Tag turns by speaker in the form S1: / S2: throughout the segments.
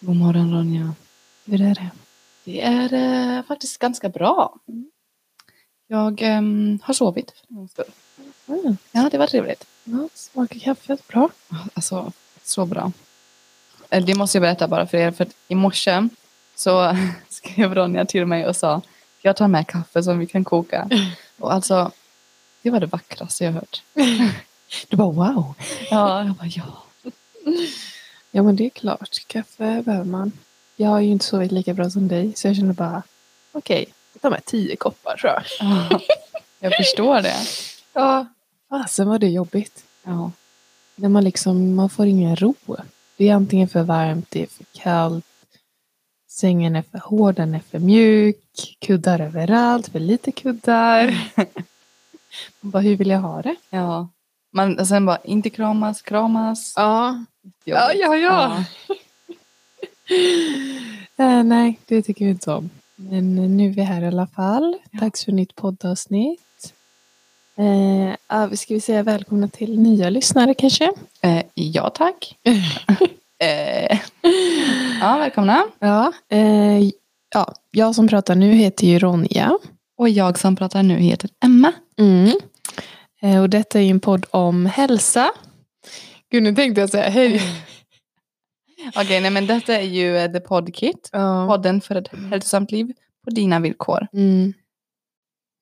S1: God morgon Ronja. Hur är det?
S2: Det är eh, faktiskt ganska bra. Jag ehm, har sovit för en gångs skull.
S1: Mm.
S2: Ja, det var trevligt.
S1: Ja, smakar kaffet bra?
S2: Alltså, så bra. Eh, Det måste jag berätta bara för er, för att i morse så skrev Ronja till mig och sa jag tar med kaffe som vi kan koka. Och alltså, det var det vackraste jag hört.
S1: Du bara wow.
S2: Ja, jag bara ja.
S1: Ja men det är klart, kaffe behöver man. Jag har ju inte sovit lika bra som dig så jag kände bara okej, jag tar med tio koppar tror jag.
S2: Ja, Jag förstår det.
S1: Ja. Fasen var det jobbigt.
S2: Ja,
S1: När man liksom, man får ingen ro. Det är antingen för varmt, det är för kallt. Sängen är för hård, den är för mjuk. Kuddar överallt, för lite kuddar. Man bara, hur vill jag ha det?
S2: ja. Man, och sen bara inte kramas, kramas.
S1: Ja, ja,
S2: Jobbigt.
S1: ja. ja. Eh, nej, det tycker vi inte om. Men nu är vi här i alla fall.
S2: Ja.
S1: Dags för nytt poddavsnitt. Eh, ah, ska vi säga välkomna till nya lyssnare kanske?
S2: Ja, eh, ja tack. eh, ja, välkomna.
S1: Ja. Eh, ja, jag som pratar nu heter ju Ronja.
S2: Och jag som pratar nu heter Emma.
S1: Eh, och detta är ju en podd om hälsa. Gud, nu tänkte jag säga hej.
S2: Okej, nej men detta är ju eh, The Pod Kit.
S1: Ja.
S2: Podden för ett hälsosamt liv på dina villkor.
S1: Mm.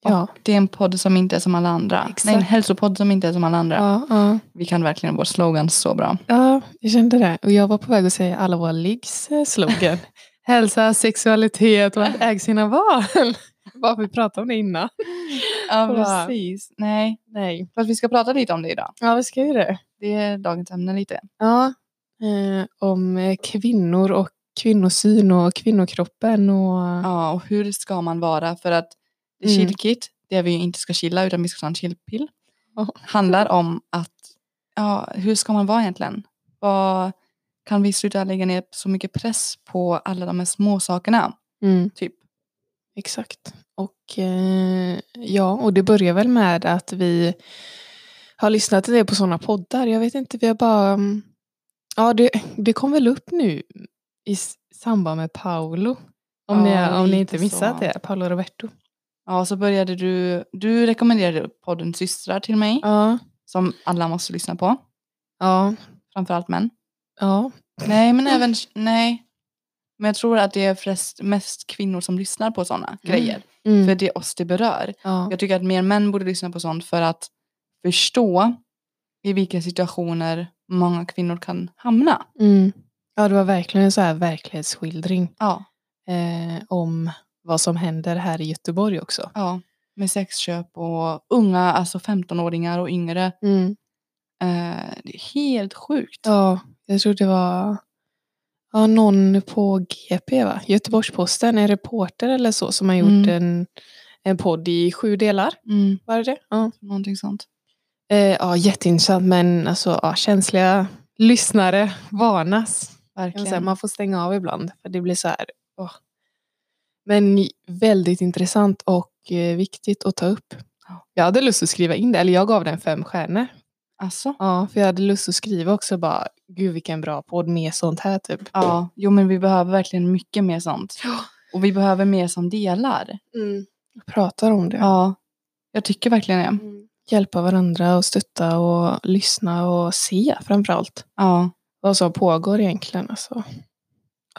S1: Ja.
S2: Det är en podd som inte är som alla andra.
S1: Exakt.
S2: Nej, en hälsopodd som inte är som alla andra.
S1: Ja, ja.
S2: Vi kan verkligen vår slogan så bra.
S1: Ja, jag kände det. Och jag var på väg att säga alla våra liggs eh, slogan. Hälsa, sexualitet och att äga sina val. Varför vi pratade om det innan.
S2: Ja,
S1: Bra.
S2: precis. Nej,
S1: Nej.
S2: för att vi ska prata lite om det idag.
S1: Ja, vi ska ju det.
S2: Det är dagens ämne lite.
S1: Ja. Eh, om eh, kvinnor och kvinnosyn och kvinnokroppen och...
S2: Ja, och hur ska man vara? För att The
S1: Mm.
S2: Chill Kit, det vi ju inte ska chilla utan vi ska ta en chillpill,
S1: Ja.
S2: handlar om att ja, hur ska man vara egentligen? Vad, kan vi sluta lägga ner så mycket press på alla de här små sakerna?
S1: Mm.
S2: Typ.
S1: Exakt. Och eh, ja, och det börjar väl med att vi har lyssnat till det på sådana poddar. Jag vet inte, vi har bara... mm, Ja, det, det kom väl upp nu i s- samband med Paolo. Om,
S2: Ja,
S1: ni, om ni
S2: lite
S1: inte missat
S2: så.
S1: det, Paolo Roberto.
S2: Ja, så började du, du rekommenderade podden Systrar till mig,
S1: Ja,
S2: som alla måste lyssna på,
S1: ja,
S2: framförallt män.
S1: ja.
S2: Nej, men även, nej. Men jag tror att det är flest, mest kvinnor som lyssnar på sådana grejer.
S1: Mm,
S2: För det är oss det berör.
S1: ja.
S2: Jag tycker att mer män borde lyssna på sånt för att förstå i vilka situationer många kvinnor kan hamna.
S1: Mm. ja, det var verkligen en så här verklighetsskildring
S2: Ja,
S1: eh, om vad som händer här i Göteborg också.
S2: ja. Med sexköp och unga, alltså 15-åringar och yngre. Eh, det är helt sjukt.
S1: Ja, jag tror det var ja, någon på GP, va? Göteborgsposten, en reporter eller så som har gjort
S2: Mm.
S1: en, en podd i sju delar.
S2: Mm,
S1: Var det det? Ja.
S2: någonting sånt.
S1: Eh, ja, jätteintressant men alltså, ja, känsliga lyssnare varnas. Kan man, säga.
S2: Verkligen.
S1: man får stänga av ibland för det blir så här. åh. Men väldigt intressant och eh, viktigt att ta upp.
S2: Ja.
S1: Jag hade lust att skriva in det, eller jag gav den fem stjärnor.
S2: Alltså.
S1: Ja, för jag hade lust att skriva också bara, gud vilken bra podd med sånt här typ.
S2: Ja, jo men vi behöver verkligen mycket mer sånt.
S1: Ja.
S2: Och vi behöver mer som delar.
S1: Mm. Pratar om det.
S2: Ja, jag tycker verkligen det.
S1: Mm. Hjälpa varandra och stötta och lyssna och se framförallt.
S2: Ja,
S1: Vad som pågår egentligen. Alltså.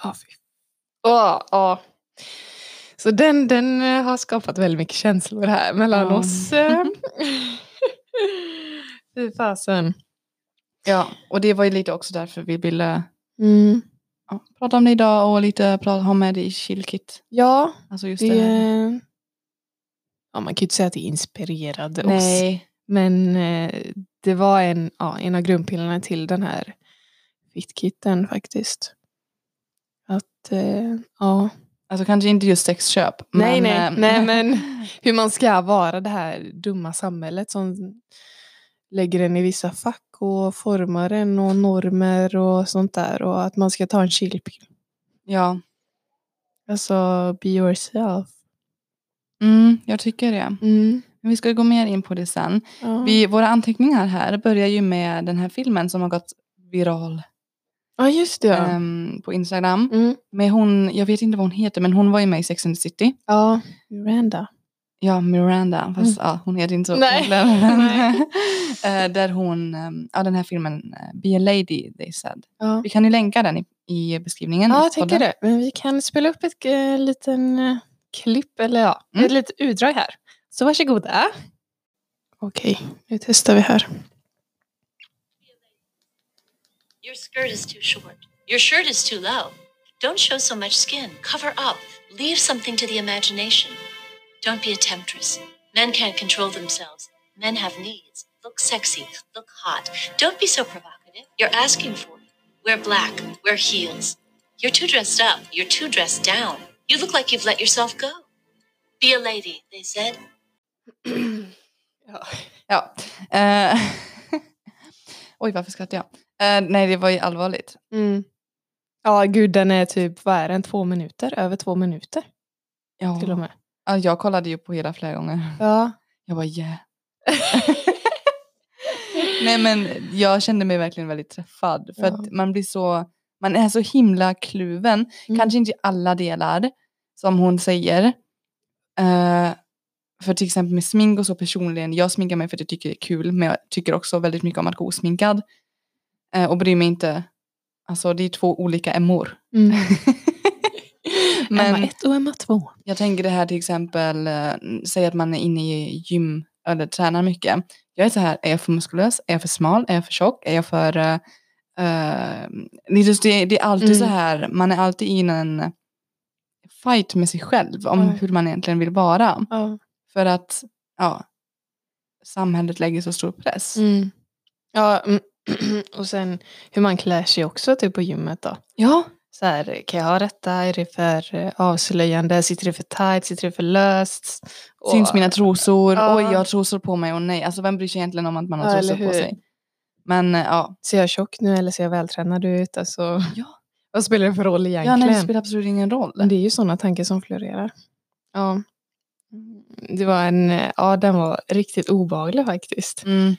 S1: Ja, fy. Ja, ja. Så den, den eh, har skapat väldigt mycket känslor här mellan
S2: Ja.
S1: oss. eh. Fy fasen.
S2: ja. och det var ju lite också därför vi ville
S1: Mm.
S2: ja, prata om det idag och lite prata, ha med det i Chillkit.
S1: Ja,
S2: Alltså just det.
S1: det... eh, Ja, man kan ju inte säga att det inspirerade oss.
S2: Nej,
S1: Men eh, det var en, ja, en av grundpillarna till den här fitkitten faktiskt. Att, eh, ja,
S2: alltså kanske inte just sexköp.
S1: Nej,
S2: men,
S1: nej,
S2: eh,
S1: nej, men- hur man ska vara det här dumma samhället som lägger en i vissa fack och formar en och normer och sånt där och att man ska ta en chillpill.
S2: Ja,
S1: Alltså, be yourself.
S2: mm, jag tycker det.
S1: Mm.
S2: Men vi ska gå mer in på det sen.
S1: Ja.
S2: Vi, våra anteckningar här börjar ju med den här filmen som har gått viral
S1: Ja, just det. Ja.
S2: ehm, på Instagram.
S1: Mm.
S2: Men hon, jag vet inte vad hon heter, men hon var ju med i Sex and the City.
S1: ja. Miranda.
S2: Ja, Miranda. Fast ja, hon heter inte så.
S1: Mm. Nej. Nej.
S2: Eh, Där hon, ehm, ja den här filmen eh, Be a Lady They Said.
S1: Ja,
S2: Vi kan ju länka den i, i beskrivningen.
S1: ja
S2: i
S1: jag tänker
S2: podden.
S1: det. Men vi kan spela upp ett eh, liten eh, klipp, eller ja,
S2: Mm.
S1: ett litet utdrag här. Så varsågoda. Okej, nu testar vi här.
S3: Your skirt is too short. Your shirt is too low. Don't show so much skin. Cover up. Leave something to the imagination. Don't be a temptress. Men can't control themselves. Men have needs. Look sexy. Look hot. Don't be so provocative. You're asking for it. Wear black. Wear heels. You're too dressed up. You're too dressed down. You look like you've let yourself go. Be a lady, they said.
S1: Ja.
S2: Ja. Eh, Oj, varför skrattar jag? Eh, nej, det var ju allvarligt.
S1: Mm. Ja, gud, den är typ, vad är den, två minuter? Över två minuter
S2: Ja.
S1: till och med.
S2: Ja, jag kollade ju på hela flera gånger.
S1: Ja.
S2: Jag bara yeah. Nej men jag kände mig verkligen väldigt träffad. För
S1: Ja.
S2: att man blir så, man är så himla kluven.
S1: Mm.
S2: Kanske inte i alla delar som hon säger. Eh, för till exempel med smink och så personligen, jag sminkar mig för att jag tycker det är kul. Men jag tycker också väldigt mycket om att gå osminkad. Eh, och bryr mig inte, alltså det är två olika emmor.
S1: Mm.
S2: men
S1: Emma 1 och Emma 2.
S2: jag tänker det här till exempel, eh, säg att man är inne i gym eller tränar mycket. Jag är så här, är jag för muskulös? Är jag för smal? Är jag för tjock? Är jag för... eh, eh, det, är just, det, det är alltid
S1: Mm.
S2: så här, man är alltid i en fight med sig själv om
S1: Ja.
S2: hur man egentligen vill vara.
S1: Ja.
S2: För att ja, samhället lägger så stor press.
S1: Mm. Ja, mm. och sen hur man klär sig också typ på gymmet då.
S2: Ja,
S1: Så här, kan jag ha detta? Är det för eh, avslöjande? Sitter det för tight? Sitter det för löst? Och-
S2: Syns mina trosor?
S1: Ja.
S2: Oj, jag har trosor på mig. Och nej, alltså vem bryr sig egentligen om att man har
S1: Ja,
S2: trosor
S1: eller
S2: på
S1: hur?
S2: sig? Men eh, ja,
S1: Ser jag tjock nu eller ser jag vältränad ut? Alltså,
S2: Ja.
S1: Vad spelar det för roll
S2: ja
S1: egentligen?
S2: nej, det spelar absolut ingen roll.
S1: Men Det är ju sådana tankar som florerar. Ja. Mm, Det var en, ja den var riktigt obehaglig faktiskt.
S2: Mm.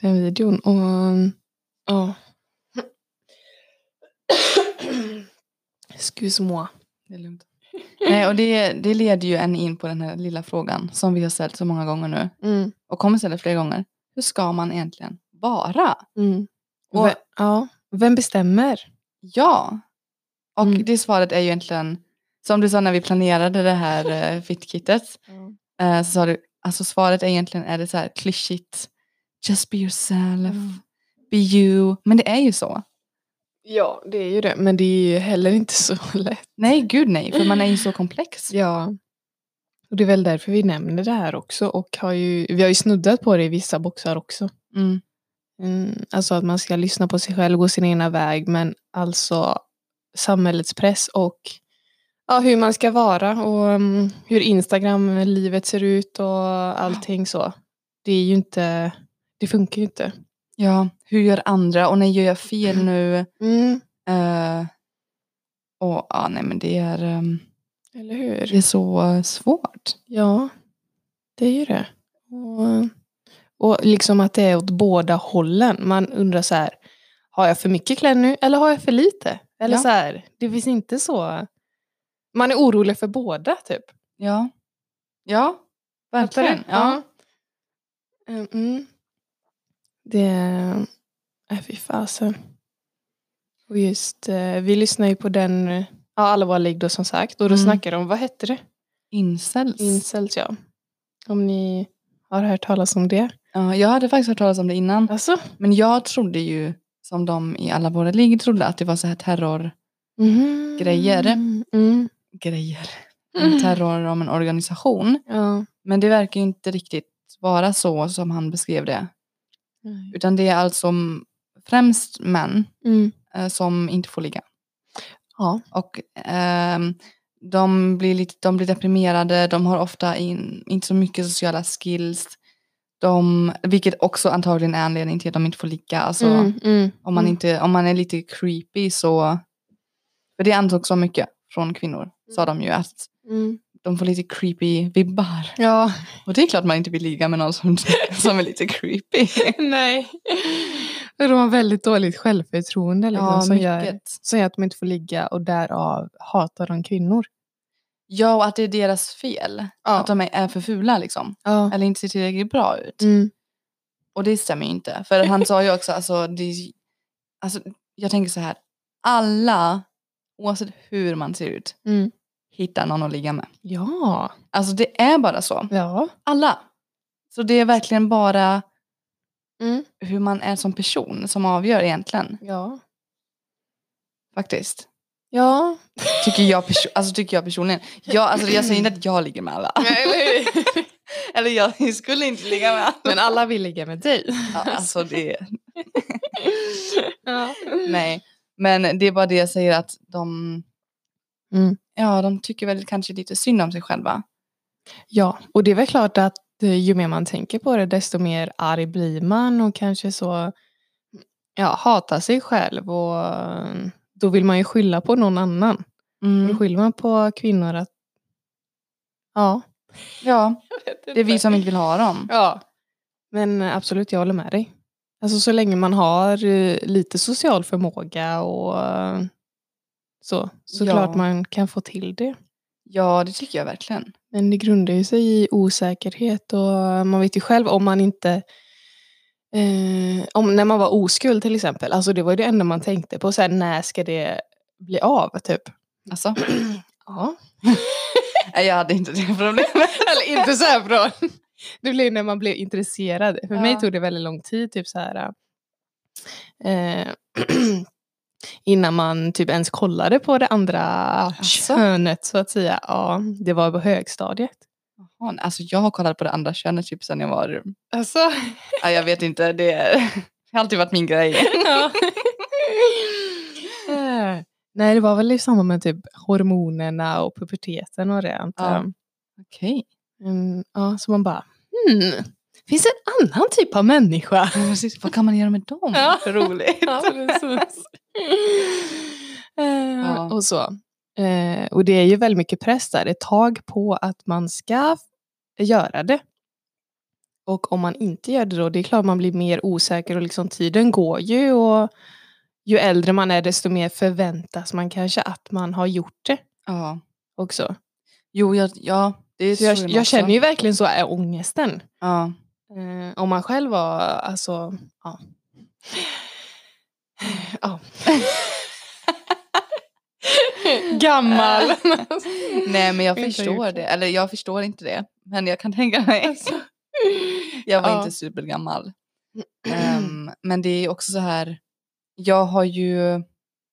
S1: Den videon. Och, ja. Excuse moi.
S2: Det är lugnt. Nej, och det, det leder ju en in på den här lilla frågan som vi har ställt så många gånger nu
S1: Mm,
S2: och kommer ställa fler gånger. Hur ska man egentligen vara?
S1: mm.
S2: Och-
S1: Ve- ja. Vem bestämmer?
S2: Ja. Och
S1: Mm.
S2: det svaret är ju egentligen, som du sa när vi planerade det här eh, fitkittet, eh, så sa du, alltså svaret är egentligen, är det så här klyschigt, just be yourself, be you, men det är ju så.
S1: Ja, det är ju det. Men det är ju heller inte så lätt.
S2: Nej, gud nej, för man är ju så komplex.
S1: Ja. Och det är väl därför vi nämner det här också. Och har ju, vi har ju snuddat på det i vissa boxar också.
S2: Mm.
S1: Mm, alltså att man ska lyssna på sig själv, gå sin egna väg, men alltså samhällets press och ja, hur man ska vara och mm, hur Instagram-livet ser ut och allting så. Det är ju inte, det funkar ju inte.
S2: Ja, hur gör andra och när gör jag fel nu?
S1: Mm,
S2: Eh, och ja, nej men det är, ehm,
S1: eller
S2: det
S1: hur?
S2: är så eh, svårt.
S1: Ja, det är ju det. Och, och liksom att det är åt båda hållen. Man undrar så här, har jag för mycket kläder nu eller har jag för lite? Eller
S2: Ja.
S1: så här, det finns inte så. Man är orolig för båda typ.
S2: Ja, ja verkligen. Ja.
S1: Mm, Mm. Det är... Äh, fy fasen. Och just, eh, vi lyssnar ju på den, eh, ja alla var ligg då som sagt, och då
S2: Mm.
S1: snackar de, vad hette det?
S2: Incels.
S1: Incels ja. Om ni har hört talas om det.
S2: Ja, jag hade faktiskt hört talas om det innan.
S1: Alltså?
S2: Men jag trodde ju, som de i alla våra ligor trodde, att det var så här terrorgrejer.
S1: Mhm.
S2: Grejer.
S1: Mm. Mm.
S2: En terror om en organisation.
S1: Ja.
S2: Men det verkar ju inte riktigt vara så som han beskrev det. Utan det är alltså m- främst män
S1: Mm.
S2: eh, som inte får ligga.
S1: Ja.
S2: Och ehm, de, blir lite, de blir deprimerade, de har ofta in, inte så mycket sociala skills. De, vilket också antagligen är anledningen till att de inte får ligga. Alltså,
S1: Mm, mm,
S2: om, man
S1: mm.
S2: inte, om man är lite creepy så... För det ansågs så mycket från kvinnor, sa de ju att
S1: Mm.
S2: de får lite creepy vibbar.
S1: Ja.
S2: Och det är klart man inte vill ligga med någon som, som är lite creepy.
S1: Nej. De har väldigt dåligt självförtroende liksom, som, gör,
S2: mycket.
S1: som gör att de inte får ligga och därav hatar de kvinnor.
S2: Ja, och att det är deras fel.
S1: Ja.
S2: Att de är- är för fula liksom.
S1: Ja.
S2: Eller inte ser tillräckligt bra ut.
S1: Mm.
S2: Och det stämmer ju inte. För han sa ju också, alltså, det, alltså jag tänker så här. Alla, oavsett hur man ser ut,
S1: Mm.
S2: hittar någon att ligga med.
S1: Ja.
S2: Alltså det är bara så.
S1: Ja.
S2: Alla. Så det är verkligen bara
S1: Mm.
S2: hur man är som person som avgör egentligen.
S1: Ja.
S2: Faktiskt.
S1: Ja.
S2: Tycker jag, perso- alltså, tycker jag personligen. Jag, alltså, jag säger inte att jag ligger med alla. Eller jag skulle inte ligga med alla.
S1: Men alla vill ligga med dig.
S2: Ja, alltså, det,
S1: ja.
S2: nej. Men det är bara det jag säger att de,
S1: Mm.
S2: ja, de tycker väl kanske lite synd om sig själva.
S1: ja, och det är väl klart att eh, ju mer man tänker på det desto mer arg blir man och kanske så ja, hatar sig själv och eh, då vill man ju skylla på någon annan.
S2: Mm.
S1: Då skyller man på kvinnor att ja,
S2: Ja, det är vi som inte vill ha dem.
S1: Ja. Men eh, absolut, jag håller med dig. Alltså så länge man har eh, lite social förmåga och eh, så, så
S2: Ja.
S1: klart man kan få till det.
S2: Ja, det tycker jag verkligen.
S1: Men det grundar ju sig i osäkerhet och man vet ju själv om man inte eh, om, när man var oskuld till exempel, alltså det var ju det enda man tänkte på. Så här, när ska det bli av? Typ.
S2: Alltså,
S1: Ja.
S2: nej, jag hade inte det problemet.
S1: Eller inte så här bra. Det blev när man blev intresserad. För mig
S2: Ja.
S1: tog det väldigt lång tid, typ så här. Eh, innan man typ ens kollade på det andra
S2: Asså?
S1: könet så att säga. Ja, det var på högstadiet.
S2: Jaha, Alltså, jag har kollat på det andra könet typ sedan jag var...
S1: Alltså.
S2: Ja, jag vet inte, det är- det har alltid varit min grej.
S1: Eh, Nej, det var väl i samband med typ hormonerna och puberteten och det. antar
S2: Ja.
S1: jag.
S2: Okej.
S1: Mm, ja, så man bara, hmm, finns det en annan typ av människa?
S2: Precis, Vad kan man göra med dem?
S1: Ja.
S2: Så roligt.
S1: Ja, precis. Eh,
S2: Ja.
S1: Och så. Eh, och det är ju väldigt mycket press där ett tag på att man ska f- göra det. Och om man inte gör det då, det är klart man blir mer osäker och liksom tiden går ju och ju äldre man är desto mer förväntas man kanske att man har gjort det
S2: Ja.
S1: också.
S2: Jo, jag, ja, det är
S1: Så jag,
S2: så
S1: jag känner ju verkligen så är ångesten.
S2: Ja.
S1: Eh, om man själv var, alltså, ja. ja. Gammal.
S2: Eh, Nej, men jag
S1: Inte
S2: förstår
S1: gjort Alltså.
S2: det. Eller jag förstår inte det. Men jag kan tänka mig. Jag var
S1: Ja.
S2: inte supergammal. Ehm, men det är också så här. Jag har ju.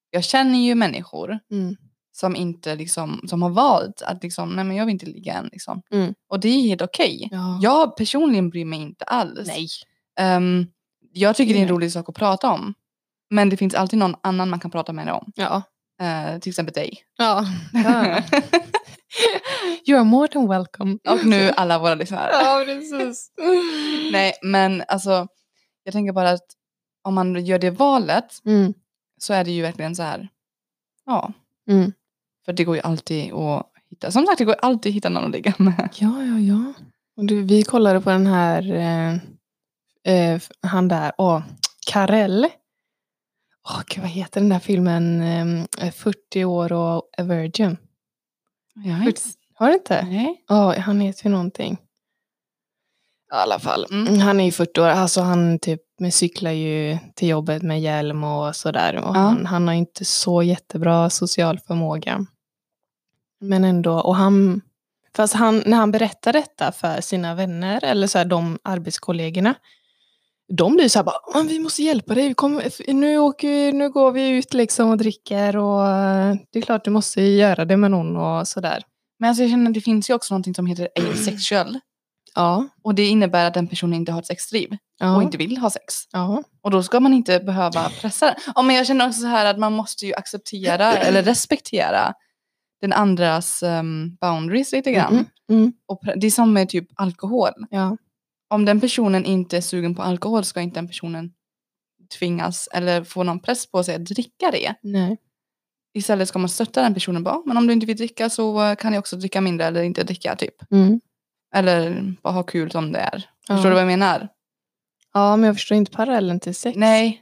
S2: Jag känner ju människor
S1: Mm.
S2: som inte liksom, som har valt att liksom, nej men jag vill inte ligga än liksom.
S1: Mm.
S2: Och det är helt okej.
S1: Ja.
S2: Jag personligen bryr mig inte alls. Ehm, jag tycker det är en
S1: Nej.
S2: rolig sak att prata om. Men det finns alltid någon annan man kan prata med det om.
S1: Ja.
S2: Eh, till exempel dig.
S1: ja. You are more than welcome.
S2: Och nu alla våra lyssnare.
S1: Ja, precis.
S2: Nej, men alltså, jag tänker bara att om man gör det valet
S1: Mm.
S2: så är det ju verkligen så här, ja.
S1: Mm.
S2: För det går ju alltid att hitta, som sagt det går ju alltid att hitta någon att ligga med.
S1: Ja, ja, ja. Och du, vi kollade på den här, eh, eh, han där, åh, Karell. Åh, gud, vad heter den där filmen, eh, 40 år och a virgin?
S2: Ja,
S1: Har du inte?
S2: Nej.
S1: Ja, han heter ju någonting. I alla fall.
S2: Mm.
S1: Han är ju 40 år, alltså han typ men cyklar ju till jobbet med hjälm och sådär. Och
S2: Ja.
S1: han, han har ju inte så jättebra social förmåga. Men ändå, och han, fast han, när han berättar detta för sina vänner eller så här, de arbetskollegorna, de blir så här bara, "Men vi måste hjälpa dig, Kom, nu, åker vi, nu går vi ut liksom och dricker och eh, det är klart du måste ju göra det med någon och sådär.
S2: Men alltså, jag känner att det finns ju också någonting som heter asexuell.
S1: Ja.
S2: Och det innebär att den personen inte har ett sexliv
S1: ja.
S2: och inte vill ha sex.
S1: Ja.
S2: Och då ska man inte behöva pressa den. Ja, men jag känner också så här att man måste ju acceptera eller respektera den andras ehm, boundaries lite grann.
S1: Mm, mm.
S2: Och pre- det är som med typ alkohol.
S1: Ja.
S2: om den personen inte är sugen på alkohol ska inte den personen tvingas eller få någon press på sig att dricka det.
S1: Nej.
S2: Istället ska man stötta den personen. Bara, "Ah, men om du inte vill dricka så eh, kan jag också dricka mindre eller inte dricka typ.
S1: Mm.
S2: Eller bara ha kul som det är.
S1: Ja.
S2: Förstår du vad jag menar?
S1: ja, men jag förstår inte parallellen till sex.
S2: Nej,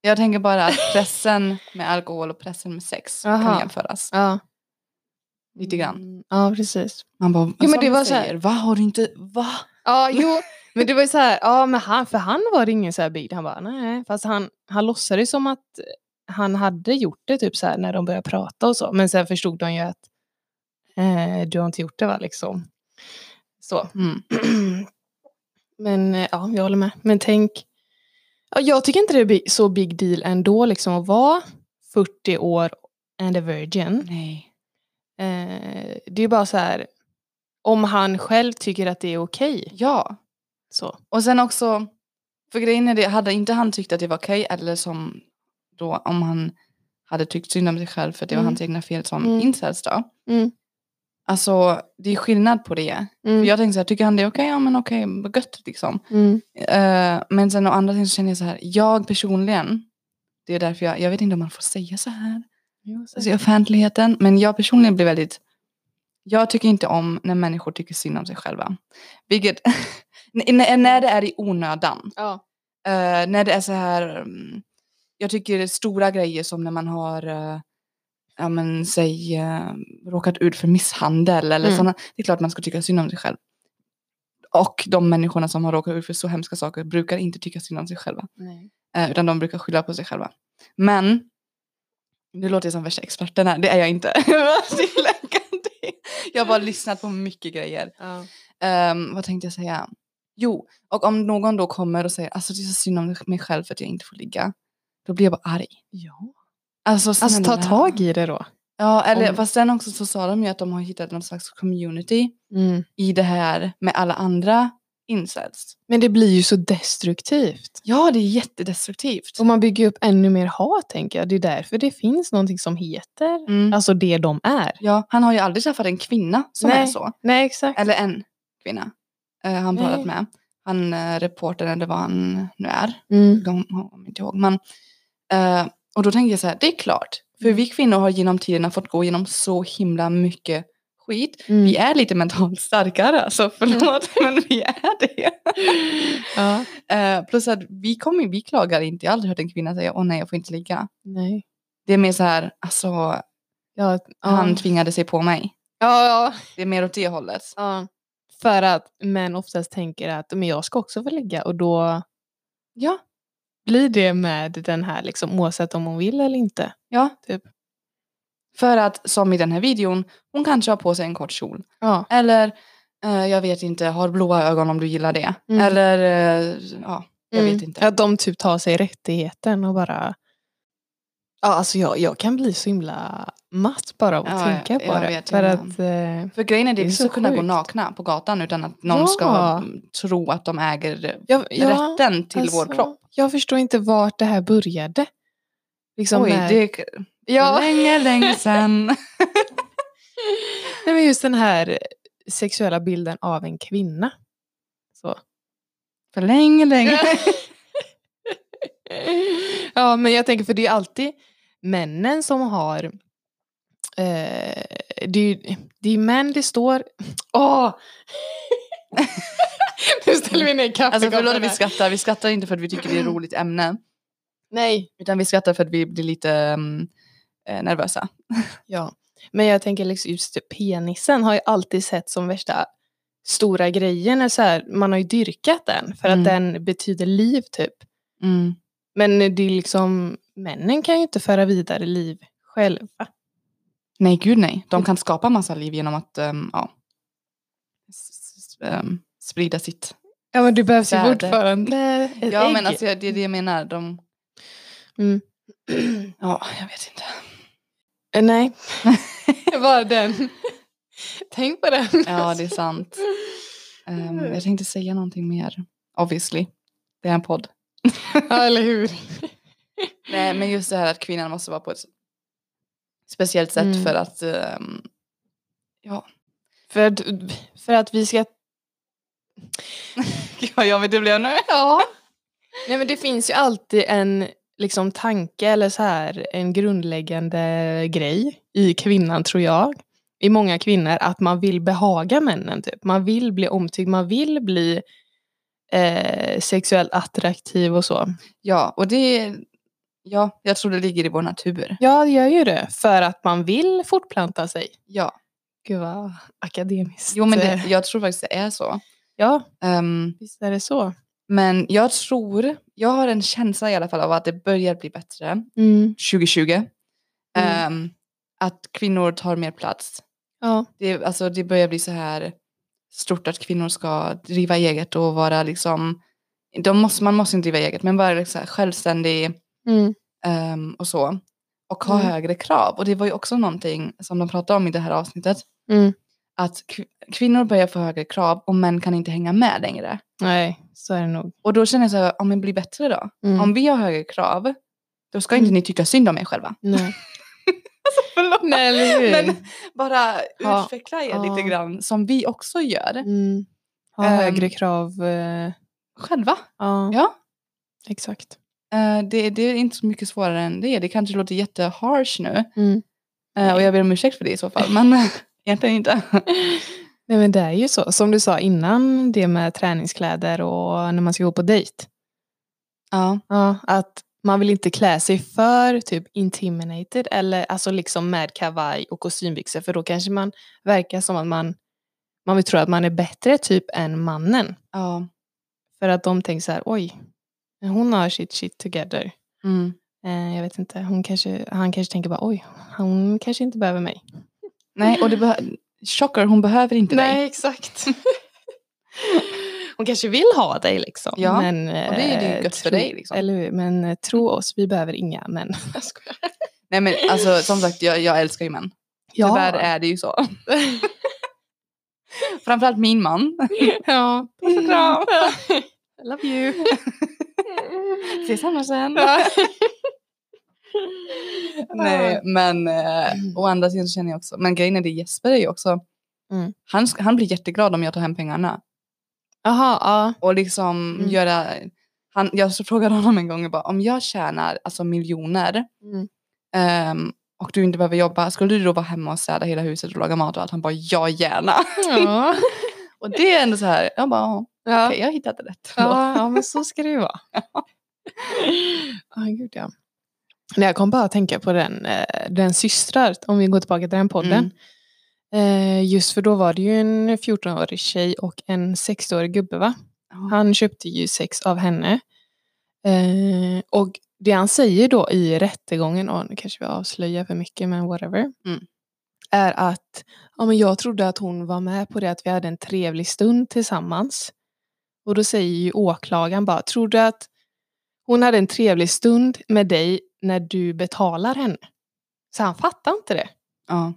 S2: Jag tänker bara att pressen med alkohol och pressen med sex
S1: Aha.
S2: kan jämföras.
S1: Ja.
S2: Lite grann.
S1: Mm, Ja, precis.
S2: Man bara,
S1: men
S2: som
S1: det
S2: du
S1: var så här-
S2: säger, va har du inte, va?
S1: Ja, jo. Men det var ju så här, ja men han, för han var det ingen så här big. Han bara nej. Fast han, han låtsades som att han hade gjort det typ så här när de började prata och så. Men sen förstod de ju att eh, du har inte gjort det va liksom. Så.
S2: Mm.
S1: men eh, ja, jag håller med. Men tänk. Ja, jag tycker inte det är bi- så big deal ändå liksom att vara 40 år and a virgin.
S2: Nej.
S1: Eh, det är ju bara så här. Om han själv tycker att det är okej.
S2: Ja,
S1: Så.
S2: och sen också, för grejen är det, hade inte han tyckt att det var okej eller som då om han hade tyckt synd om sig själv för att det var
S1: Mm.
S2: hans egna fel som
S1: Mm.
S2: incels då.
S1: Mm.
S2: Alltså det är skillnad på det. För jag tänkte så här, tycker han det är okej? Ja men okej, vad gött liksom.
S1: Mm.
S2: Eh, men sen å andra sidan så känner jag så här, jag personligen, det är därför jag, jag vet inte om man får säga så här. alltså, i offentligheten. Men jag personligen blir väldigt... Jag tycker inte om när människor tycker synd om sig själva. Vilket, när, när det är i onödan.
S1: Ja.
S2: Eh, när det är så här... mm, Jag tycker stora grejer som när man har... eh, ja, men, säg, eh, råkat ut för misshandel eller
S1: Mm.
S2: såna. Det är klart man ska tycka synd om sig själv. Och de människorna som har råkat ut för så hemska saker brukar inte tycka synd om sig själva.
S1: Nej.
S2: Eh, Utan de brukar skylla på sig själva. Men, nu låter jag som värsta experten här, det är jag inte. Jag vill tillägga det. jag har bara lyssnat på mycket grejer.
S1: Ja.
S2: Ehm, vad tänkte jag säga? Jo, och om någon då kommer och säger alltså det är så synd om mig själv för att jag inte får ligga. Då blir jag bara arg. Alltså,
S1: Alltså ta
S2: snälla.
S1: tag i det då.
S2: Ja, eller
S1: Om-
S2: fast sen också så sa de ju att de har hittat någon slags community
S1: Mm.
S2: i det här med alla andra incels.
S1: Men det blir ju så destruktivt.
S2: Ja, det är jättedestruktivt.
S1: Och man bygger ju upp ännu mer hat tänker jag. Det är därför det finns någonting som heter
S2: Mm.
S1: alltså det de är.
S2: Ja, han har ju aldrig träffat en kvinna som är
S1: Nej.
S2: så.
S1: Nej exakt.
S2: Eller en kvinna eh, han
S1: Nej.
S2: pratat med. Han eh, reportern eller vad han nu är.
S1: Mm.
S2: De jag kommer inte ihåg. Men, eh, och då tänker jag så här, det är klart. För
S1: Mm.
S2: vi kvinnor har genom tiderna fått gå igenom så himla mycket skit.
S1: Mm.
S2: Vi är lite mentalt starkare, alltså förlåt, men vi är det.
S1: Ja.
S2: Eh, plus att vi, kommer, vi klagar inte. Jag har aldrig hört en kvinna säga, åh nej, jag får inte ligga.
S1: Nej.
S2: Det är mer så här, alltså,
S1: Ja, ja.
S2: han tvingade sig på mig.
S1: ja, ja,
S2: Det är mer åt det hållet.
S1: ja. För att män oftast tänker att men jag ska också få ligga och då
S2: Ja,
S1: blir det med den här liksom oavsett om hon vill eller inte.
S2: ja.
S1: Typ.
S2: För att som i den här videon, hon kanske har på sig en kort kjol.
S1: Ja.
S2: Eller eh, jag vet inte, har blåa ögon om du gillar det.
S1: Mm.
S2: Eller eh, ja, jag
S1: Mm.
S2: vet inte.
S1: Att de typ tar sig rättigheten och bara... Ja, alltså jag, jag kan bli så himla matt bara av att
S2: Ja,
S1: tänka
S2: jag-
S1: på
S2: jag
S1: det.
S2: vet,
S1: för
S2: jag
S1: att... Eh,
S2: För grejen är
S1: Det
S2: det,
S1: är
S2: vi
S1: så
S2: ska kunna gå
S1: sjukt.
S2: nakna på gatan utan att någon
S1: Ja.
S2: ska mm, tro att de äger eh,
S1: jag, jag,
S2: rätten till
S1: alltså,
S2: vår kropp.
S1: Jag förstår inte vart det här började. Liksom
S2: Oj,
S1: med,
S2: det är k-
S1: ja,
S2: länge, länge sedan.
S1: nej, men just den här sexuella bilden av en kvinna. Så.
S2: För länge, länge.
S1: ja, men jag tänker för det är alltid männen som har... Eh, det, är, ju- det är män det står... Åh! nu ställer vi ner
S2: Alltså förlåt
S1: kaffekoppen
S2: att vi
S1: här.
S2: skrattar. Vi skrattar inte för att vi tycker det är ett roligt ämne.
S1: Nej.
S2: Utan vi skrattar för att vi blir lite mm, eh, nervösa.
S1: Ja. Men jag tänker liksom just penisen har ju alltid sett som värsta stora grejen. Eller så här, man har ju dyrkat den för att
S2: Mm.
S1: den betyder liv typ. Men det är liksom, männen kan ju inte föra vidare liv själva.
S2: Nej, gud nej. De kan skapa massa liv genom att ehm, ja, s- s- ehm, sprida sitt.
S1: Ja men det behövs ju
S2: Väder.
S1: fortfarande ett
S2: Ja,
S1: ägg.
S2: men alltså, jag- det är det jag menar. De,
S1: Mm.
S2: ja, jag vet inte.
S1: Eh, Nej, det var den. Tänk på den.
S2: Ja, det är sant. Ehm, jag tänkte säga någonting mer. Obviously. Det är en podd.
S1: Ja, eller hur?
S2: Nej, men just det här att kvinnan måste vara på ett speciellt sätt
S1: Mm.
S2: för att ehm,
S1: För att, för att vi ska...
S2: Ja, ja, men det blev nu.
S1: Ja. Nej men det finns ju alltid en liksom, tanke eller så här, en grundläggande grej i kvinnan tror jag. I många kvinnor att man vill behaga männen. Typ. Man vill bli omtyckt, man vill bli eh, sexuellt attraktiv och så.
S2: Ja, och det är Ja, jag tror det ligger i vår natur.
S1: Ja, det gör ju det. För att man vill fortplanta sig.
S2: Ja,
S1: Gud vad akademiskt.
S2: jo men det,
S1: Eh,
S2: jag tror faktiskt det är så.
S1: Ja,
S2: Ehm,
S1: visst är det så.
S2: men jag tror, jag har en känsla i alla fall av att det börjar bli bättre 2020.
S1: Mm.
S2: Ehm, att kvinnor tar mer plats.
S1: Ja.
S2: Det, alltså, det börjar bli så här stort att kvinnor ska driva eget och vara liksom, de måste, man måste inte driva eget, men vara liksom självständig ehm, och så. Och ha
S1: Mm.
S2: högre krav. Och det var ju också någonting som de pratade om i det här avsnittet.
S1: Mm.
S2: Att kv- kvinnor börjar få högre krav och män kan inte hänga med längre.
S1: Nej, så är det nog.
S2: Och då känner jag så här, om men bli bättre då.
S1: Mm.
S2: Om vi har högre krav, då ska inte
S1: Mm.
S2: ni tycka synd om er själva.
S1: Nej.
S2: Förlåt.
S1: Nej, eller hur?
S2: Men bara
S1: Ja,
S2: utveckla er
S1: ja.
S2: lite grann, som vi också gör.
S1: Mm. Ha
S2: Ehm.
S1: högre krav. eh,
S2: Själva.
S1: Ja.
S2: Ja.
S1: Exakt.
S2: Eh, det, det är inte så mycket svårare än det. Det kanske låter jätteharsh nu.
S1: Mm.
S2: eh, och jag ber om ursäkt för det i så fall. Men egentligen inte.
S1: Nej men det är ju så. Som du sa innan det med träningskläder och när man ska gå på dejt.
S2: ja.
S1: Ja, att man vill inte klä sig för typ intimidated eller alltså liksom med kavaj och kostymbyxor för då kanske man verkar som att man, man vill tro att man är bättre typ än mannen.
S2: ja.
S1: För att de tänker så här, oj, hon har sitt shit together.
S2: Mm.
S1: Eh, jag vet inte, hon kanske, han kanske tänker bara oj, hon kanske inte behöver mig.
S2: Nej, och det behö- Chocker, hon behöver inte dig.
S1: exakt. hon kanske vill ha dig liksom.
S2: Ja,
S1: men,
S2: och det är ju
S1: eh,
S2: gött för
S1: tro-
S2: dig, liksom.
S1: Eller hur? Men eh, tro oss, vi behöver inga män. Jag skojar.
S2: Nej, men alltså som sagt, jag, jag älskar ju män.
S1: Ja.
S2: Tyvärr är det ju så. Framförallt min man.
S1: Ja.
S2: Puss och kram.
S1: Mm. Love you.
S2: Ses hemma sen.
S1: Ja.
S2: Nej, men eh,
S1: Mm.
S2: å andra sidan så känner jag också, men grejen är det Jesper är ju också,
S1: Mm.
S2: han, sk- han blir jätteglad om jag tar hem pengarna.
S1: Jaha, ja.
S2: Och liksom
S1: Mm.
S2: göra, han, jag så frågade honom en gång, jag bara, om jag tjänar alltså miljoner
S1: Mm.
S2: ehm, och du inte behöver jobba, skulle du då vara hemma och städa hela huset och laga mat och allt? Han bara, ja gärna.
S1: Ja.
S2: Och det är ändå så här, jag bara, ja,
S1: Ja.
S2: okej, jag hittade rätt.
S1: Ja, ja, men så ska det ju vara. Ja, gud ja. Nej, jag kom bara att tänka på den, eh, den systrar, om vi går tillbaka till den podden. Eh, just för då var det ju en 14-årig tjej och en 60-årig gubbe va?
S2: Ja.
S1: Han köpte ju sex av henne. Eh, och det han säger då i rättegången, och nu kanske vi avslöjar för mycket men whatever.
S2: Mm.
S1: Är att ja, men jag trodde att hon var med på det att vi hade en trevlig stund tillsammans. Och då säger ju åklagaren bara, tror du att hon hade en trevlig stund med dig när du betalar henne? Så han fattar inte det.
S2: Ja.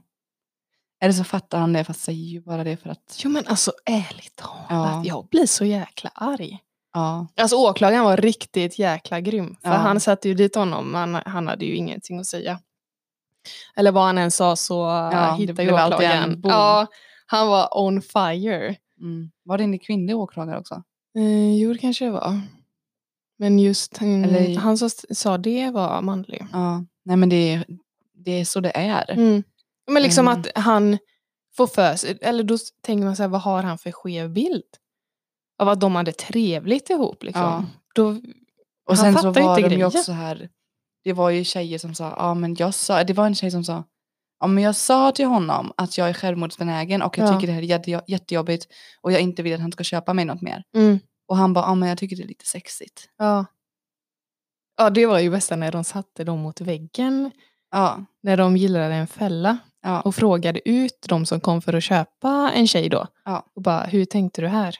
S2: Eller så fattar han det fast säger ju bara det för att,
S1: Jo men alltså ärligt talat,
S2: Ja.
S1: jag blir så jäkla arg.
S2: ja.
S1: Alltså åklagaren var riktigt jäkla grym. För
S2: Ja.
S1: han satte ju dit honom, han, han hade ju ingenting att säga. Eller vad han än sa så ja,
S2: det
S1: hittade ju
S2: blev alltid en
S1: åklagaren.
S2: bom.
S1: Ja, han var on fire.
S2: Mm. Var det en kvinnlig åklagare också?
S1: Eh, jo, det kanske det var. Men just mm,
S2: Eller-
S1: han som s- sa det var manlig.
S2: Ja. Nej men det, är- det är så det är.
S1: Mm. Men liksom
S2: Mm.
S1: att han får för sig, eller då s- tänker man så här, vad har han för skev bild? Av att de hade trevligt ihop liksom.
S2: Ja.
S1: Då,
S2: Och
S1: Han
S2: sen så
S1: fattar ju
S2: var
S1: inte
S2: de ju
S1: grejen.
S2: också här, det var ju tjejer som sa, ja men jag sa, det var en tjej som sa, ja men jag sa till honom att jag är självmordsbenägen och jag
S1: Ja.
S2: tycker det här är jätte, jättejobbigt och jag inte vill att han ska köpa mig något mer.
S1: mm.
S2: Och han bara, ja men jag tycker det är lite sexigt.
S1: Ja. Ja, det var ju bästa när de satte dem mot väggen,
S2: Ja,
S1: när de gillade en fälla
S2: ja,
S1: och frågade ut de som kom för att köpa en tjej då.
S2: Ja.
S1: Och bara, hur tänkte du här?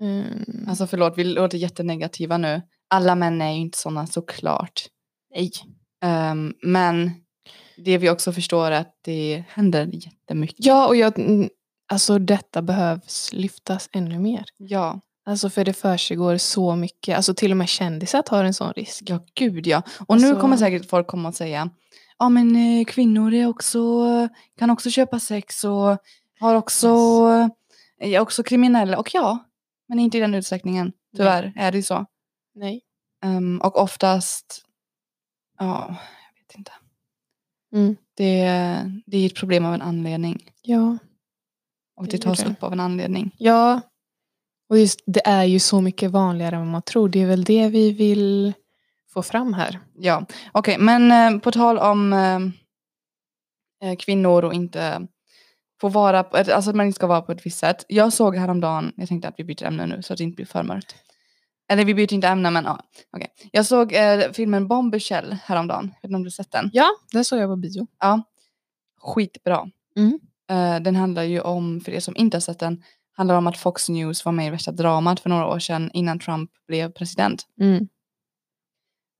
S1: Mm.
S2: alltså förlåt vi låter jättenegativa nu. Alla män är ju inte sådana såklart.
S1: nej.
S2: Ehm, men det vi också förstår är att det händer jättemycket.
S1: Ja, och jag, mm, alltså detta behövs lyftas ännu mer.
S2: Ja,
S1: Alltså för det försiggår så mycket, alltså till och med kändisar tar en sån risk.
S2: ja gud ja. Och
S1: Alltså-
S2: nu kommer säkert folk komma och säga, ja men eh, kvinnor är också, kan också köpa sex och har också,
S1: Alltså.
S2: är också kriminella. Och ja, men inte i den utsträckningen. Tyvärr är det ju så.
S1: Nej.
S2: Ehm, och oftast, ja, jag vet inte.
S1: Mm.
S2: Det, det är ett problem av en anledning.
S1: Ja.
S2: Och
S1: Det
S2: det
S1: är
S2: tas
S1: det.
S2: upp av en anledning.
S1: Ja, och just det är ju så mycket vanligare än vad man tror. Det är väl det vi vill få fram här.
S2: Ja, okej, men eh, på tal om eh, eh, kvinnor och inte få vara, på, ett- alltså att man inte ska vara på ett visst sätt. Jag såg häromdagen, jag tänkte att vi byter ämne nu så att det inte blir för mörkt. Eller vi byter inte ämne men ja, okej. Jag såg eh, filmen Bombershell häromdagen, jag vet inte om du sett den?
S1: Ja, den såg jag på bio.
S2: Ja, skitbra.
S1: Mm.
S2: Eh, den handlar ju om, för er som inte har sett den, handlar om att Fox News var med i värsta dramat för några år sedan innan Trump blev president.
S1: Mm.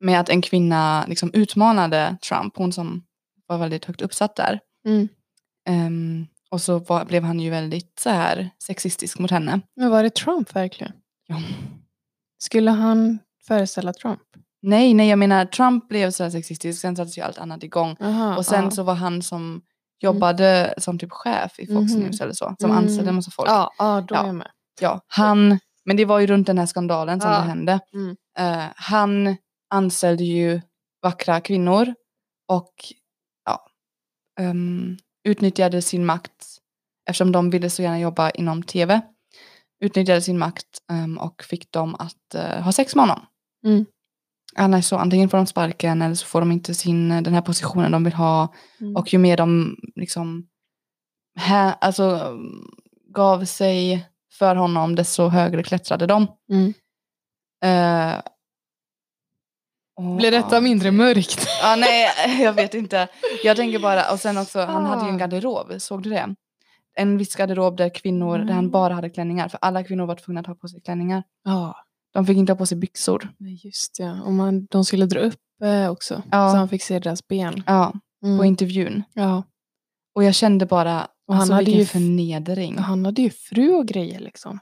S2: med att en kvinna liksom utmanade Trump, hon som var väldigt högt uppsatt där.
S1: Mm.
S2: Ehm, och så var, blev han ju väldigt så här sexistisk mot henne.
S1: Men var det Trump verkligen?
S2: Ja.
S1: Skulle han föreställa Trump?
S2: Nej, nej, jag menar Trump blev så här sexistisk, sen sattes ju allt annat igång.
S1: Aha,
S2: Och sen
S1: ja. Mm.
S2: så var han som jobbade som typ chef i Fox
S1: Mhm.
S2: News eller så, som
S1: Mm.
S2: anställde en massa folk.
S1: Ja, ja, då
S2: Ja.
S1: är jag med.
S2: Ja, han, men det var ju runt den här skandalen som
S1: Ja.
S2: det hände.
S1: Mm.
S2: Eh, han anställde ju vackra kvinnor och ja, ehm, utnyttjade sin makt, eftersom de ville så gärna jobba inom tv, utnyttjade sin makt ehm, och fick dem att eh, ha sex med honom.
S1: Mm.
S2: Annars så antingen får de sparken eller så får de inte sin, eh, den här positionen de vill ha.
S1: Mm.
S2: Och ju mer de liksom hä, alltså, um, gav sig för honom, desto högre klättrade de.
S1: Mm.
S2: Eh, och-
S1: Blir detta
S2: ja.
S1: mindre mörkt?
S2: Ja, nej, jag vet inte. Jag tänker bara, och sen också, han hade ju en
S1: Ah.
S2: garderob, såg du det? En viss garderob där kvinnor, där han
S1: Nej.
S2: bara hade klänningar, för alla kvinnor var tvungna att ha på sig klänningar.
S1: Ja,
S2: De fick inte ha på sig byxor.
S1: men just det. Och man, de skulle dra upp eh, också.
S2: Ja.
S1: Så han fick se deras ben.
S2: Ja, på
S1: Mm.
S2: intervjun.
S1: Ja.
S2: Och jag kände bara,
S1: Och han
S2: alltså,
S1: hade
S2: vilken
S1: ju f-
S2: förnedring.
S1: Och Han hade ju fru och grejer liksom.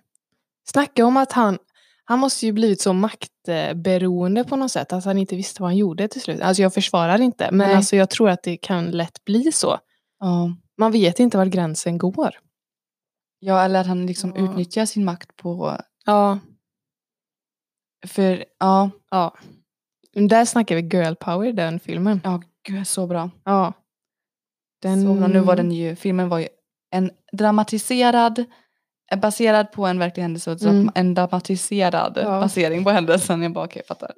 S1: Snacka om att han, han måste ju blivit så maktberoende på något sätt. Att han inte visste vad han gjorde till slut. Alltså jag försvarar inte. Men
S2: Nej.
S1: alltså jag tror att det kan lätt bli så.
S2: Ja.
S1: Man vet inte var gränsen går.
S2: Ja, eller att han liksom
S1: Ja.
S2: utnyttjar sin makt på...
S1: Ja.
S2: För, ja,
S1: ja. Där snackar vi girl power den filmen.
S2: ja gud, så bra.
S1: Ja.
S2: Så bra. Nu var den ju, filmen var ju en dramatiserad, eh, baserad på en verklig händelse och dra-
S1: Mm.
S2: en dramatiserad
S1: Ja.
S2: basering på händelsen. Jag bara, okej, jag fattar.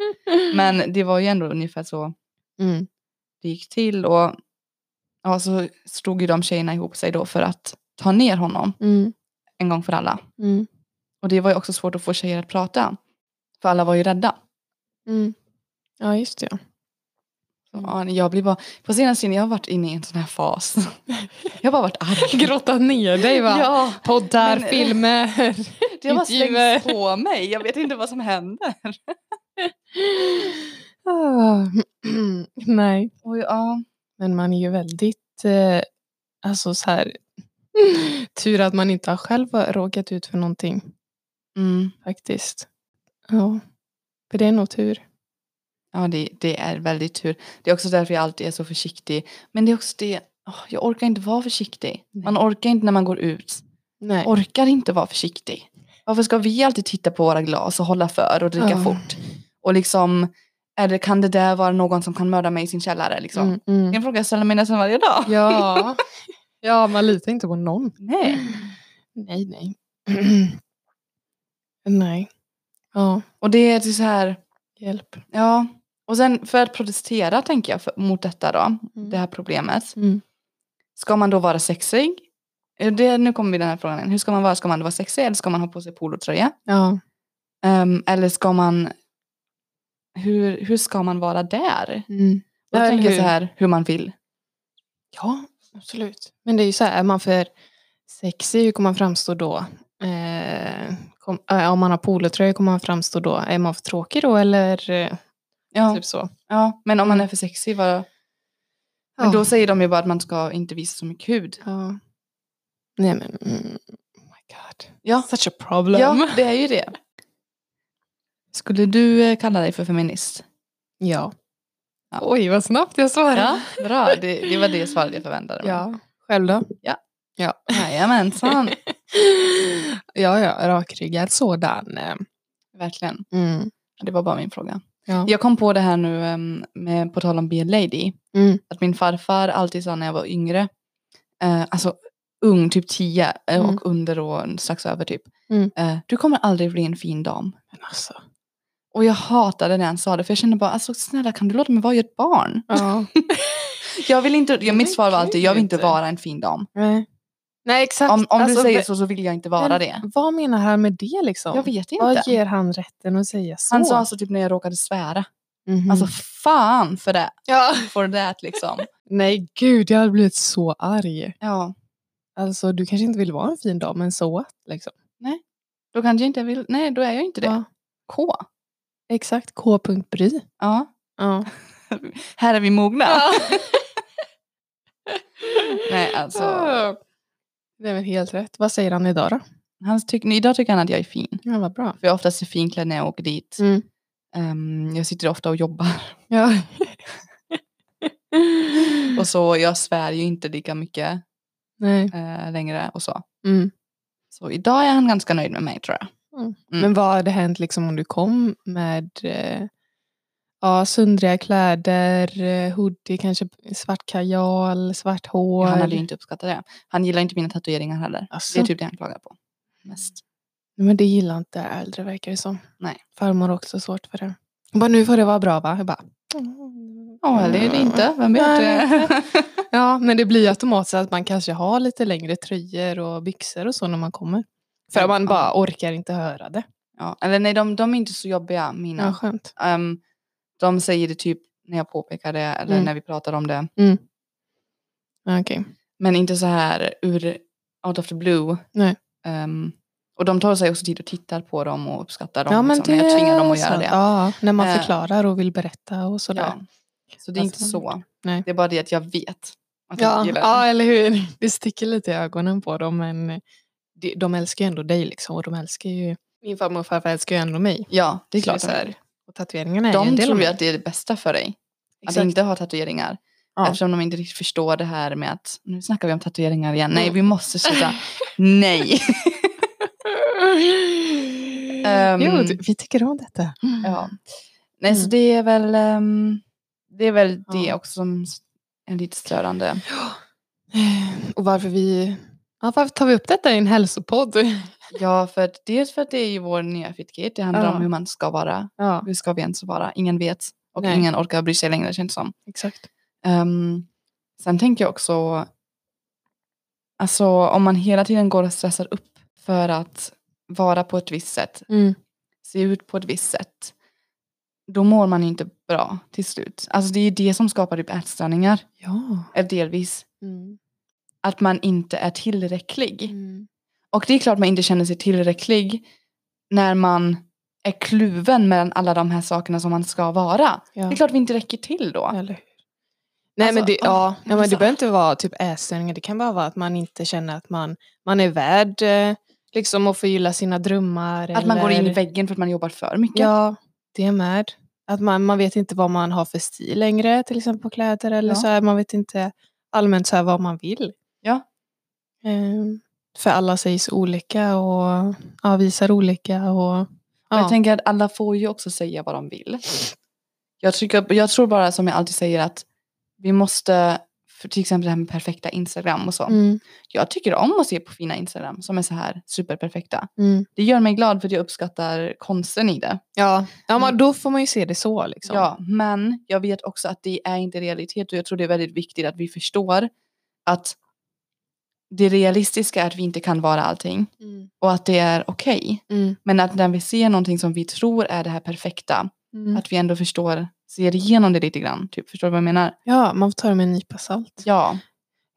S2: Men det var ju ändå ungefär så
S1: Mm.
S2: det gick till och ja, så stod ju de tjejerna ihop sig då för att ta ner honom
S1: Mm.
S2: en gång för alla.
S1: Mm.
S2: Och det var ju också svårt att få tjejer att prata. För alla var ju rädda.
S1: Mm. Ja, just det.
S2: Så,
S1: Mm.
S2: ja, jag blir bara, på senaste tiden jag har varit inne i en sån här fas. Jag har bara varit arg.
S1: Grottat ner dig va?
S2: Ja,
S1: Poddar,
S2: Men-
S1: filmer.
S2: det har bara
S1: Intervjuer.
S2: slängts på mig. Jag vet inte vad som händer.
S1: Ah, Nej,
S2: Och ja,
S1: men man är ju väldigt, eh, alltså så här, tur att man inte har själv råkat ut för någonting
S2: mm,
S1: faktiskt. Ja, för det är nog tur.
S2: ja det, det är väldigt tur. Det är också därför jag alltid är så försiktig. Men det är också det, åh, jag orkar inte vara försiktig. Man orkar inte när man går ut.
S1: Nej.
S2: Orkar inte vara försiktig. Varför ska vi alltid titta på våra glas och hålla för och dricka
S1: Ja.
S2: fort? Och liksom, eller kan det där vara någon som kan mörda mig i sin källare? Liksom?
S1: Mm, mm.
S2: Det är en fråga jag ställer mig nästan varje dag.
S1: Ja. ja, man litar inte på någon.
S2: Nej.
S1: Nej, nej. nej. Ja,
S2: Och det är ju så här,
S1: hjälp.
S2: ja. Och sen för att protestera tänker jag för, mot detta då, det här problemet.
S1: Mm.
S2: Ska man då vara sexig? Eh, Det, nu kommer vi den här frågan igen. Hur ska man vara? Ska man vara sexig eller ska man ha på sig polotröja?
S1: Ja.
S2: Ehm, eller ska man... Hur, hur ska man vara där?
S1: Mm.
S2: Då
S1: Eller
S2: tänker jag
S1: hur?
S2: så här, hur man vill.
S1: Ja, absolut. Men det är ju så här, är man för sexig, hur kommer man framstå då? Eh, kom, eh, om man har polotröja, hur kommer man framstå då? Är man för tråkig då eller eh,
S2: Ja,
S1: typ så?
S2: ja. Men om man är för sexig, vad... Men
S1: Mm. Ja.
S2: då säger de ju bara att man ska inte visa så mycket hud.
S1: Ja. Nej men, mm, oh my god.
S2: Ja.
S1: Such a problem.
S2: Ja, det är ju det. Skulle du eh, kalla dig för feminist?
S1: Ja.
S2: Ja.
S1: Oj, vad snabbt jag svarade.
S2: Ja, bra. Det, det var det svaret jag förväntade mig.
S1: Ja. Själv då?
S2: Jajamensan.
S1: ja, ja, rakryggad sådan. eh,
S2: Verkligen.
S1: Mm.
S2: Det var bara min fråga.
S1: Ja.
S2: Jag kom på det här nu em, med, på tal om Be a Lady.
S1: Mm.
S2: Att min farfar alltid sa när jag var yngre, eh, alltså ung, typ 10 eh,
S1: Mm.
S2: och under och strax över typ.
S1: Mm.
S2: Eh, du kommer aldrig bli en fin dam.
S1: Men alltså.
S2: Och jag hatade när han sa det för jag kände bara alltså snälla kan du låta mig vara i ett barn?
S1: Ja.
S2: Jag vill inte, jag, mitt svar var alltid jag vill inte
S1: gud.
S2: vara en fin dam.
S1: Nej. Nej, exakt.
S2: Om, om
S1: Alltså,
S2: du säger
S1: v-
S2: så så vill jag inte vara
S1: men-
S2: det.
S1: Vad menar han med det liksom?
S2: Jag vet inte.
S1: Vad ger han rätten att säga så?
S2: Han sa alltså typ när jag råkade svära.
S1: Mhm.
S2: Alltså fan för det.
S1: ja.
S2: For that liksom.
S1: Nej, gud, jag hade blivit så arg.
S2: Ja.
S1: Alltså, du kanske inte vill vara en fin dam, men så att liksom.
S2: Då kanske jag inte vill, nej då är jag inte det.
S1: Ja.
S2: K.
S1: Exakt, k.bry.
S2: Ja.
S1: Ja.
S2: Här är vi mogna.
S1: Ja.
S2: Nej, alltså.
S1: Det är väl helt rätt. Vad säger han idag då?
S2: Han tyck, idag tycker han att jag är fin.
S1: Ja, vad bra.
S2: För jag är oftast är finklädd när jag åker dit.
S1: Mm.
S2: Ehm, jag sitter ofta och jobbar.
S1: Ja.
S2: Och så jag svär ju inte lika mycket
S1: Nej.
S2: eh, längre och så.
S1: Mm.
S2: Så idag är han ganska nöjd med mig tror jag. Mm.
S1: Men vad hade hänt liksom om du kom med eh, ja, sundriga kläder, eh, hoodie, kanske svart kajal, svart hår?
S2: Han hade ju inte uppskattat det. Han gillar inte mina tatueringar heller. Det
S1: Asså?
S2: är typ det han klagar på. Mest.
S1: Men det gillar inte äldre verkar det som.
S2: Nej.
S1: Farmor har också svårt för det. Hon bara, nu får det vara bra va? Jag bara, "Mm."
S2: Ja, eller är det inte. Vem vet?
S1: Nej. Ja, men det blir ju automatiskt att man kanske har lite längre tröjor och byxor och så när man kommer. För att man
S2: Ja.
S1: bara orkar inte höra det.
S2: ja, eller nej, de, de är inte så jobbiga, mina.
S1: Ja, skönt.
S2: Ehm, de säger det typ när jag påpekar det eller
S1: Mm.
S2: när vi pratar om det.
S1: Ja, Okej.
S2: Men inte så här ur out of the blue.
S1: Nej.
S2: Ehm, och de tar sig också tid och tittar på dem och uppskattar dem.
S1: Ja, men
S2: liksom, när jag tvingar dem
S1: är
S2: att göra
S1: sant.
S2: det.
S1: Ja, när man
S2: Eh.
S1: förklarar och vill berätta och sådär.
S2: Ja. Så det är inte
S1: Alltså,
S2: så.
S1: nej.
S2: Det är bara det att jag vet att jag
S1: Ja,
S2: gillar
S1: ja,
S2: det.
S1: eller hur. Det sticker lite i ögonen på dem, men de, de älskar ju ändå dig liksom. Och de älskar ju... Min farmor och farfar älskar ju ändå mig.
S2: Ja, det är
S1: Så
S2: klart.
S1: det
S2: de
S1: är
S2: gör
S1: så Och tatueringarna är ju
S2: De
S1: en del
S2: tror
S1: av
S2: ju
S1: mig.
S2: att det är det bästa för dig. Att
S1: Exakt.
S2: inte ha tatueringar.
S1: Ja.
S2: Eftersom de inte riktigt förstår det här med att nu snackar vi om tatueringar igen. Nej,
S1: Mm.
S2: vi måste sluta. Nej. Ehm.
S1: jo, du- vi tycker om detta.
S2: Ja. Nej, så
S1: Mm.
S2: det är väl, ehm, det, är väl det
S1: Ja.
S2: också som s- är lite störande.
S1: Eh, Och varför vi... Ja, varför tar vi upp detta i en hälsopodd?
S2: Ja, för att, dels för att det är ju vår nya fitkit. Det handlar
S1: Ja.
S2: om hur man ska vara.
S1: Ja,
S2: Hur ska vi ens vara? Ingen vet. Och
S1: Nej.
S2: ingen orkar bry sig längre känns det som.
S1: exakt.
S2: Ehm, sen tänker jag också, alltså om man hela tiden går och stressar upp för att vara på ett visst sätt,
S1: Mm.
S2: se ut på ett visst sätt, då mår man ju inte bra till slut. Alltså det är ju det som skapar typ ätstörningar,
S1: Ja.
S2: eller delvis.
S1: Mm.
S2: Att man inte är tillräcklig.
S1: Mm.
S2: Och det är klart man inte känner sig tillräcklig när man är kluven mellan alla de här sakerna som man ska vara.
S1: Ja.
S2: Det är klart vi inte räcker till då.
S1: Eller hur? ah, Nej, men
S2: Alltså,
S1: det,
S2: åh,
S1: ja, ja, men det
S2: bizarrt.
S1: behöver inte vara typ ätstörningar. Det kan bara vara att man inte känner att man, man är värd eh, liksom, att förgylla sina drömmar.
S2: Att man går in i
S1: eller-
S2: väggen för att man jobbar för mycket.
S1: Ja, det med. Att man, man vet inte vad man har för stil längre, till exempel på kläder. Eller
S2: Ja.
S1: så här, man vet inte allmänt så här, vad man vill.
S2: Ja.
S1: Ehm, för alla sägs olika och ja, visar olika. Och,
S2: Och Jag
S1: ja.
S2: tänker att alla får ju också säga vad de vill. Jag, tycker, jag tror bara som jag alltid säger att vi måste, för till exempel det här med perfekta Instagram och så.
S1: mm,
S2: Jag tycker om att se på fina Instagram som är så här superperfekta.
S1: mm.
S2: Det gör mig glad för att jag uppskattar konsten i det.
S1: ja. ja men
S2: Mm.
S1: då får man ju se det så. Liksom.
S2: Ja, men jag vet också att det är inte realitet och jag tror det är väldigt viktigt att vi förstår att det realistiska är att vi inte kan vara allting
S1: Mm,
S2: och att det är okej.
S1: mm,
S2: Men att när vi ser någonting som vi tror är det här perfekta
S1: mm.
S2: Att vi ändå förstår, ser igenom det lite grann. Typ. Förstår du vad jag menar?
S1: Ja, man får ta det med en nypa salt.
S2: Ja.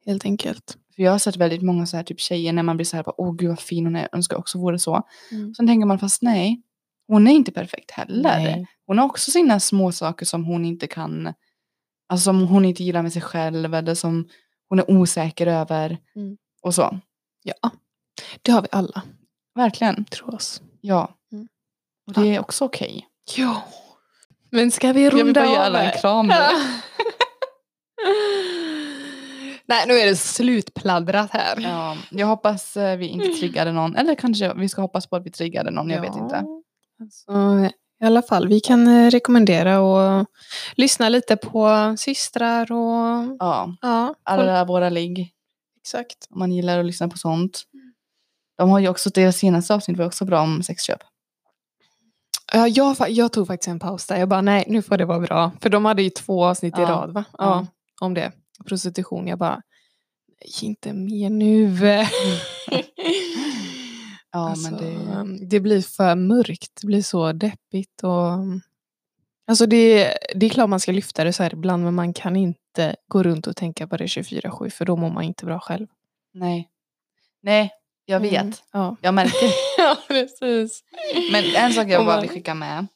S1: Helt enkelt.
S2: För jag har sett väldigt många så här typ tjejer när man blir så här, bara, åh gud vad fin hon är, jag önskar också vore så.
S1: Mm.
S2: Sen tänker man fast nej, hon är inte perfekt heller.
S1: Nej.
S2: Hon har också sina små saker som hon inte kan, alltså som hon inte gillar med sig själv eller som hon är osäker över.
S1: Mm.
S2: Och så.
S1: Ja, det har vi alla,
S2: Verkligen.
S1: tror oss.
S2: Ja.
S1: Mm.
S2: Och det är också okej.
S1: Ja. Men ska vi
S2: Jag vill
S1: runda
S2: bara ge
S1: av?
S2: alla en
S1: här?
S2: kram nu.
S1: Ja. Nej, nu är det slutpladdrat här.
S2: Ja, jag hoppas eh, vi inte triggade någon. Eller kanske vi ska hoppas på att vi triggade någon, jag vet
S1: Ja.
S2: inte.
S1: Alltså, I alla fall, vi kan eh, rekommendera och lyssna lite på systrar och
S2: Ja,
S1: ja, folk-
S2: alla våra ligg,
S1: exakt.
S2: om man gillar att lyssna på
S1: Mm.
S2: sånt. De har ju också, deras senaste avsnitt var också bra om sexköp.
S1: Ja, jag, fa- jag tog faktiskt en paus där. Jag bara, nej, nu får det vara bra. För de hade ju två avsnitt i
S2: Ja.
S1: rad, va? Ja,
S2: Ja.
S1: om det. Prostitution. Jag bara, nej, inte mer nu.
S2: Ja,
S1: alltså,
S2: men det...
S1: um, det blir för mörkt. Det blir så deppigt. Och, um, alltså det, det är klart man ska lyfta det så här ibland, men man kan inte gå runt och tänka på det 24-7, för då mår man inte bra själv.
S2: Nej. Nej, jag vet.
S1: Mm, ja.
S2: Jag märker.
S1: ja, precis.
S2: Men en sak jag
S1: Om
S2: bara
S1: man-
S2: vill skicka med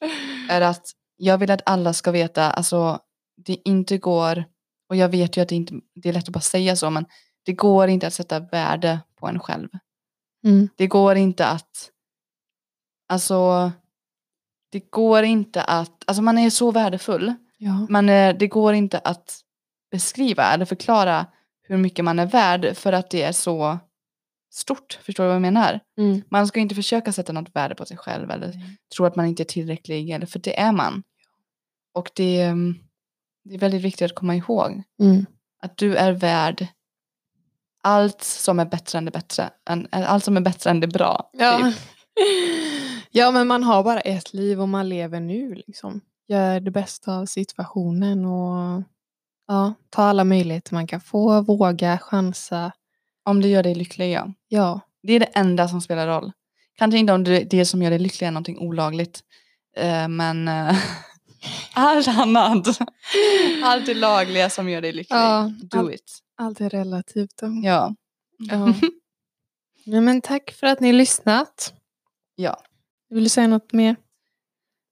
S2: är att jag vill att alla ska veta, alltså det inte går, och jag vet ju att det inte det är lätt att bara säga så, men det går inte att sätta värde på en själv.
S1: Mm.
S2: Det går inte att, alltså, det går inte att, alltså man är så värdefull,
S1: Ja.
S2: men eh, det går inte att beskriva eller förklara hur mycket man är värd för att det är så stort, förstår du vad jag menar?
S1: Mm.
S2: Man ska inte försöka sätta något värde på sig själv eller tror att man inte är tillräcklig, eller, för det är man. Och det, mm, det är väldigt viktigt att komma ihåg
S1: Mm.
S2: att du är värd allt som är bättre än det bättre, än, än- allt som är bättre än det bra.
S1: Ja.
S2: typ.
S1: ja, men man har bara ett liv och man lever nu. Liksom. Gör det bästa av situationen och ja, ta alla möjligheter man kan få. Våga, chansa.
S2: Om det gör dig lycklig, ja.
S1: Ja.
S2: Det är det enda som spelar roll. Kanske inte om det, det som gör dig lycklig är någonting olagligt, eh, men eh, allt annat, allt det lagliga som gör dig lycklig,
S1: Ja,
S2: do
S1: allt-
S2: it.
S1: Allt är relativt. då.
S2: Ja.
S1: Ja. Nej, men tack för att ni har lyssnat.
S2: Ja.
S1: Vill du säga något mer?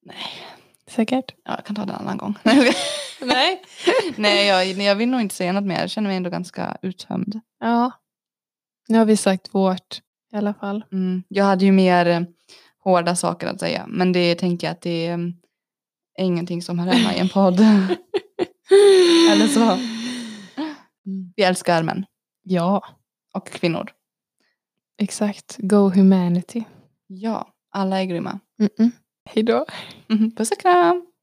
S2: Nej.
S1: Säkert?
S2: ja, jag kan ta det en annan gång. Nej, jag skojar.
S1: Nej.
S2: Nej, jag, nej, jag vill nog inte säga något mer. Jag känner mig ändå ganska uttömd.
S1: Ja. Nu har vi sagt vårt i alla fall.
S2: Mm. Jag hade ju mer eh, hårda saker att säga, men det tänker jag att det eh, är ingenting som hör hemma i en podd. Eller så. Vi älskar män
S1: Ja,
S2: och kvinnor.
S1: exakt. Go humanity.
S2: Ja, alla är grymma.
S1: 嗯 Mm-mm. Hej då.
S2: Mhm. Puss och kram!